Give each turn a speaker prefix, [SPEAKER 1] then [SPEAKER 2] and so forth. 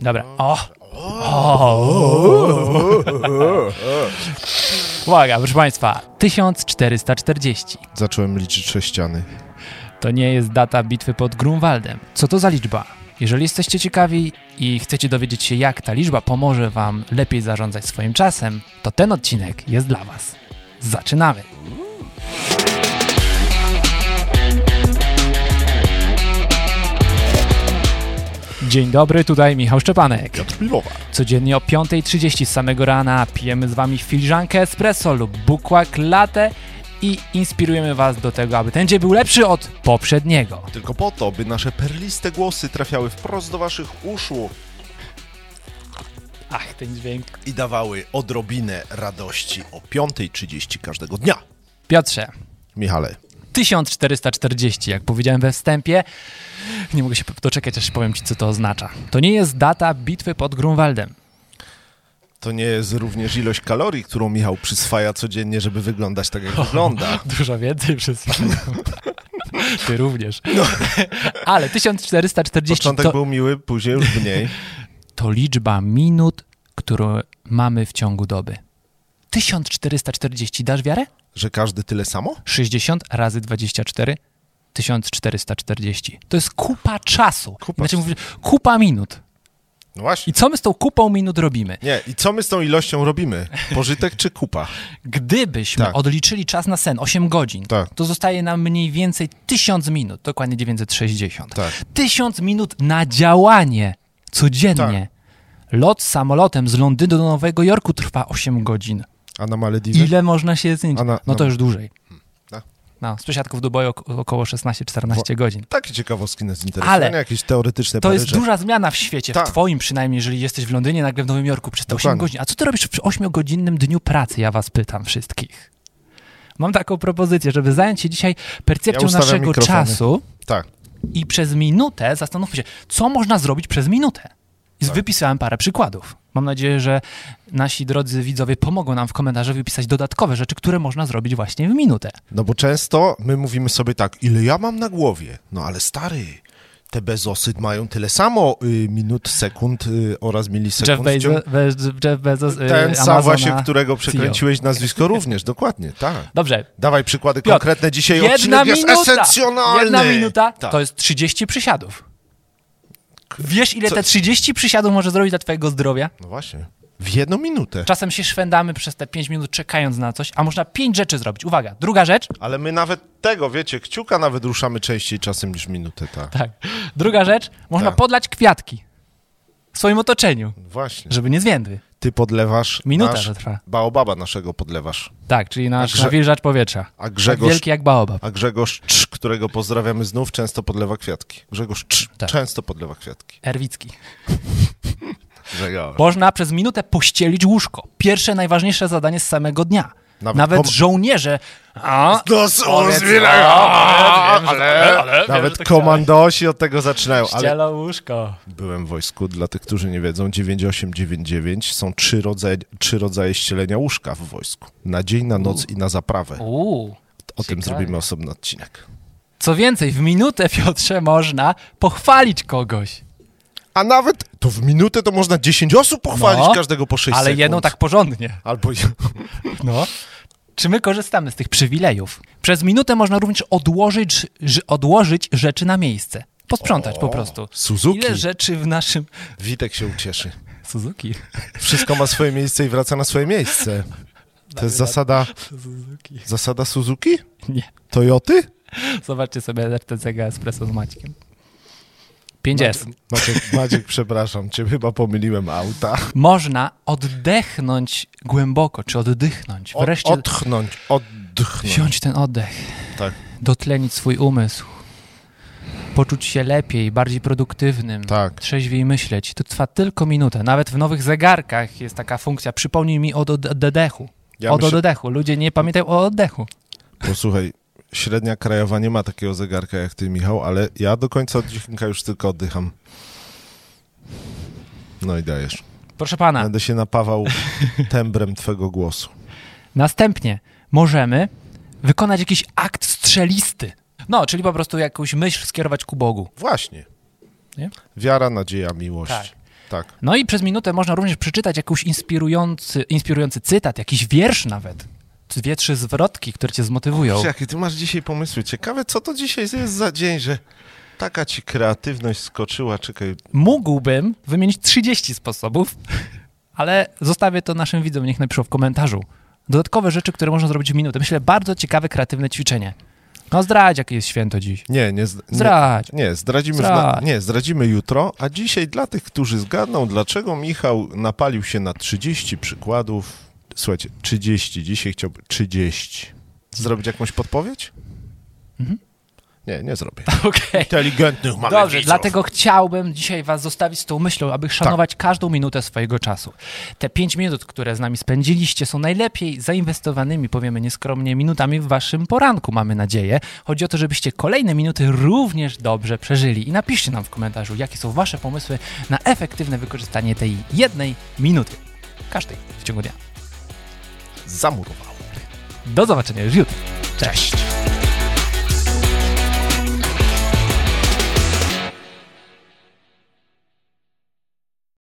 [SPEAKER 1] Dobra. O! o. Uwaga, proszę Państwa. 1440.
[SPEAKER 2] Zacząłem liczyć sześciany.
[SPEAKER 1] To nie jest data bitwy pod Grunwaldem. Co to za liczba? Jeżeli jesteście ciekawi i chcecie dowiedzieć się, jak ta liczba pomoże Wam lepiej zarządzać swoim czasem, to ten odcinek jest dla Was. Zaczynamy! Dzień dobry, tutaj Michał Szczepanek.
[SPEAKER 2] Piotr Pilowa.
[SPEAKER 1] Codziennie o 5.30 z samego rana pijemy z Wami filiżankę espresso lub bukłak latte i inspirujemy Was do tego, aby ten dzień był lepszy od poprzedniego.
[SPEAKER 2] Tylko po to, by nasze perliste głosy trafiały wprost do waszych uszu
[SPEAKER 1] Ach, ten dźwięk.
[SPEAKER 2] i dawały odrobinę radości o 5.30 każdego dnia.
[SPEAKER 1] Piotrze,
[SPEAKER 2] Michale,
[SPEAKER 1] 1440, jak powiedziałem we wstępie. Nie mogę się doczekać, aż powiem Ci, co to oznacza. To nie jest data bitwy pod Grunwaldem.
[SPEAKER 2] to nie jest również ilość kalorii, którą Michał przyswaja codziennie, żeby wyglądać tak, jak wygląda.
[SPEAKER 1] Dużo więcej przez Ty również. Ale 1440
[SPEAKER 2] Początek
[SPEAKER 1] to...
[SPEAKER 2] był miły, później już mniej.
[SPEAKER 1] to liczba minut, którą mamy w ciągu doby. 1440, dasz wiarę?
[SPEAKER 2] Że każdy tyle samo?
[SPEAKER 1] 60 razy 24, 1440. To jest kupa czasu.
[SPEAKER 2] Kupa
[SPEAKER 1] Znaczy,
[SPEAKER 2] czasu.
[SPEAKER 1] mówisz, kupa minut.
[SPEAKER 2] No właśnie.
[SPEAKER 1] I co my z tą kupą minut robimy?
[SPEAKER 2] Nie, i co my z tą ilością robimy? Pożytek czy kupa?
[SPEAKER 1] Gdybyśmy
[SPEAKER 2] Tak.
[SPEAKER 1] odliczyli czas na sen 8 godzin,
[SPEAKER 2] Tak.
[SPEAKER 1] to zostaje nam mniej więcej 1000 minut, dokładnie 960.
[SPEAKER 2] Tak.
[SPEAKER 1] 1000 minut na działanie codziennie.
[SPEAKER 2] Tak.
[SPEAKER 1] Lot samolotem z Londynu do Nowego Jorku trwa 8 godzin.
[SPEAKER 2] A na Malediwy?
[SPEAKER 1] Ile można się znić?
[SPEAKER 2] A na-
[SPEAKER 1] no to
[SPEAKER 2] na-
[SPEAKER 1] już dłużej.
[SPEAKER 2] No.
[SPEAKER 1] No, z przesiadków do boju ok- około 16-14 godzin.
[SPEAKER 2] Takie ciekawostki nas interesują,
[SPEAKER 1] Ale
[SPEAKER 2] nie jakieś teoretyczne
[SPEAKER 1] To jest
[SPEAKER 2] paryże.
[SPEAKER 1] duża zmiana w świecie,
[SPEAKER 2] Tak.
[SPEAKER 1] w twoim przynajmniej, jeżeli jesteś w Londynie, nagle w Nowym Jorku przez te 8
[SPEAKER 2] Dokładnie.
[SPEAKER 1] godzin. A co ty robisz przy 8-godzinnym dniu pracy, ja was pytam wszystkich. Mam taką propozycję, żeby zająć się dzisiaj percepcją
[SPEAKER 2] Ja ustawiam
[SPEAKER 1] naszego
[SPEAKER 2] mikrofony.
[SPEAKER 1] czasu
[SPEAKER 2] Tak.
[SPEAKER 1] i przez minutę zastanówmy się, co można zrobić przez minutę. I
[SPEAKER 2] Tak.
[SPEAKER 1] wypisałem parę przykładów. Mam nadzieję, że nasi drodzy widzowie pomogą nam w komentarzu wypisać dodatkowe rzeczy, które można zrobić właśnie w minutę.
[SPEAKER 2] No bo często my mówimy sobie tak, ile ja mam na głowie? No ale stary, te bezosy mają tyle samo y, minut, sekund y, oraz
[SPEAKER 1] Jeff
[SPEAKER 2] milisekund. w ciągu-
[SPEAKER 1] Bezos, Be- Jeff Bezos y,
[SPEAKER 2] Ten sam
[SPEAKER 1] Amazona
[SPEAKER 2] właśnie, w
[SPEAKER 1] CEO.
[SPEAKER 2] którego przekręciłeś nazwisko również, dokładnie, tak.
[SPEAKER 1] Dobrze.
[SPEAKER 2] Dawaj przykłady
[SPEAKER 1] Piotr,
[SPEAKER 2] konkretne, dzisiaj
[SPEAKER 1] Jedna
[SPEAKER 2] odcinek jest
[SPEAKER 1] minuta,
[SPEAKER 2] esencjonalny.
[SPEAKER 1] jedna minuta
[SPEAKER 2] Tak.
[SPEAKER 1] to jest 30 przysiadów. Wiesz, ile
[SPEAKER 2] Co-
[SPEAKER 1] te 30 przysiadów może zrobić dla twojego zdrowia?
[SPEAKER 2] No właśnie, w jedną minutę.
[SPEAKER 1] Czasem się szwendamy przez te 5 minut czekając na coś, a można 5 rzeczy zrobić. Uwaga, druga rzecz.
[SPEAKER 2] Ale my nawet tego, wiecie, kciuka nawet ruszamy częściej czasem niż minutę, tak.
[SPEAKER 1] Tak. Druga rzecz, można
[SPEAKER 2] Tak.
[SPEAKER 1] podlać kwiatki w swoim otoczeniu,
[SPEAKER 2] Właśnie.
[SPEAKER 1] żeby nie zwiędły.
[SPEAKER 2] Ty podlewasz
[SPEAKER 1] Minuta,
[SPEAKER 2] nasz,
[SPEAKER 1] że trwa.
[SPEAKER 2] baobaba naszego podlewasz.
[SPEAKER 1] Tak, czyli nasz
[SPEAKER 2] grze-
[SPEAKER 1] nawilżacz powietrza.
[SPEAKER 2] A
[SPEAKER 1] Tak
[SPEAKER 2] Grzegorz
[SPEAKER 1] wielki jak baobab.
[SPEAKER 2] A Grzegorz Cz, którego pozdrawiamy znów, często podlewa kwiatki. Grzegorz Cz,
[SPEAKER 1] Tak.
[SPEAKER 2] często podlewa kwiatki.
[SPEAKER 1] Erwicki.
[SPEAKER 2] Grzegorz.
[SPEAKER 1] Tak. Można przez minutę pościelić łóżko. Pierwsze, najważniejsze zadanie z samego dnia. Nawet,
[SPEAKER 2] Nawet pom-
[SPEAKER 1] żołnierze. A,
[SPEAKER 2] Dos
[SPEAKER 1] Powiedz,
[SPEAKER 2] ale,
[SPEAKER 1] a,
[SPEAKER 2] ale,
[SPEAKER 1] ale, ale, wiem, że tak
[SPEAKER 2] Nawet
[SPEAKER 1] to
[SPEAKER 2] komandosi od tego zaczynają. Ale
[SPEAKER 1] ścielo łóżko.
[SPEAKER 2] byłem w wojsku, dla tych, którzy nie wiedzą, 9899 są trzy rodzaje, trzy rodzaje ścielenia łóżka w wojsku. Na dzień, na noc i na zaprawę.
[SPEAKER 1] Uuu.
[SPEAKER 2] O tym
[SPEAKER 1] ciekawe.
[SPEAKER 2] zrobimy osobny odcinek.
[SPEAKER 1] Co więcej, w minutę, Piotrze, można pochwalić kogoś.
[SPEAKER 2] A nawet to w minutę to można 10 osób pochwalić,
[SPEAKER 1] No,
[SPEAKER 2] każdego po 6
[SPEAKER 1] Ale
[SPEAKER 2] sekund.
[SPEAKER 1] jedną tak porządnie.
[SPEAKER 2] Albo
[SPEAKER 1] No. Czy my korzystamy z tych przywilejów? Przez minutę można również odłożyć, ż- odłożyć rzeczy na miejsce. Posprzątać po prostu.
[SPEAKER 2] Suzuki.
[SPEAKER 1] Ile rzeczy w naszym...
[SPEAKER 2] Witek się ucieszy.
[SPEAKER 1] Suzuki.
[SPEAKER 2] Wszystko ma swoje miejsce i wraca na swoje miejsce. To jest zasada,
[SPEAKER 1] Suzuki.
[SPEAKER 2] zasada Suzuki?
[SPEAKER 1] Nie.
[SPEAKER 2] Toyoty?
[SPEAKER 1] Zobaczcie sobie RTCG Espresso z Maćkiem.
[SPEAKER 2] No,
[SPEAKER 1] 5S.
[SPEAKER 2] Maciek, Maciek, przepraszam, cię chyba pomyliłem auta.
[SPEAKER 1] Można oddechnąć głęboko, czy oddychnąć.
[SPEAKER 2] Od,
[SPEAKER 1] Wreszcie
[SPEAKER 2] odchnąć, odchnąć.
[SPEAKER 1] wziąć ten oddech.
[SPEAKER 2] Tak.
[SPEAKER 1] Dotlenić swój umysł. Poczuć się lepiej, bardziej produktywnym.
[SPEAKER 2] Tak.
[SPEAKER 1] Trzeźwiej myśleć. To trwa tylko minutę. Nawet w nowych zegarkach jest taka funkcja. Przypomnij mi o od- od- oddechu.
[SPEAKER 2] Ja
[SPEAKER 1] od
[SPEAKER 2] myślę-
[SPEAKER 1] oddechu. Ludzie nie pamiętają o oddechu.
[SPEAKER 2] Posłuchaj, średnia krajowa nie ma takiego zegarka jak ty, Michał, ale ja do końca odcinka już tylko oddycham. No i dajesz.
[SPEAKER 1] Proszę pana,
[SPEAKER 2] Będę się napawał tembrem twego głosu.
[SPEAKER 1] Następnie możemy wykonać jakiś akt strzelisty. No, czyli po prostu jakąś myśl skierować ku Bogu.
[SPEAKER 2] Właśnie.
[SPEAKER 1] Nie?
[SPEAKER 2] Wiara, nadzieja, miłość.
[SPEAKER 1] Tak.
[SPEAKER 2] tak.
[SPEAKER 1] No i przez minutę można również przeczytać jakiś inspirujący, inspirujący cytat, jakiś wiersz nawet. Dwie, trzy zwrotki, które cię zmotywują.
[SPEAKER 2] Kurczę, jakie ty masz dzisiaj pomysły. Ciekawe, co to dzisiaj jest za dzień, że taka ci kreatywność skoczyła. Czekaj,
[SPEAKER 1] Mógłbym wymienić 30 sposobów, ale zostawię to naszym widzom, niech napiszą w komentarzu. Dodatkowe rzeczy, które można zrobić w minutę. Myślę, bardzo ciekawe, kreatywne ćwiczenie. No zdradź, jakie jest święto dziś.
[SPEAKER 2] nie, nie, zd- nie,
[SPEAKER 1] Zdradź.
[SPEAKER 2] Nie, zdradzimy,
[SPEAKER 1] Zdradź.
[SPEAKER 2] w na- nie, zdradzimy jutro, a dzisiaj dla tych, którzy zgadną, dlaczego Michał napalił się na 30 przykładów. Słuchajcie, 30, dzisiaj chciałby 30. Zrobić jakąś podpowiedź? Nie, nie zrobię.
[SPEAKER 1] Mhm. Okej.
[SPEAKER 2] Inteligentnych mamy
[SPEAKER 1] Dobrze,
[SPEAKER 2] widzów.
[SPEAKER 1] dlatego chciałbym dzisiaj was zostawić z tą myślą, aby szanować
[SPEAKER 2] Tak.
[SPEAKER 1] każdą minutę swojego czasu. Te pięć minut, które z nami spędziliście, są najlepiej zainwestowanymi, powiemy nieskromnie, minutami w waszym poranku, mamy nadzieję. Chodzi o to, żebyście kolejne minuty również dobrze przeżyli. I napiszcie nam w komentarzu, jakie są wasze pomysły na efektywne wykorzystanie tej jednej minuty. Każdej w ciągu dnia.
[SPEAKER 2] Zamurował.
[SPEAKER 1] Do zobaczenia już jutro. Cześć!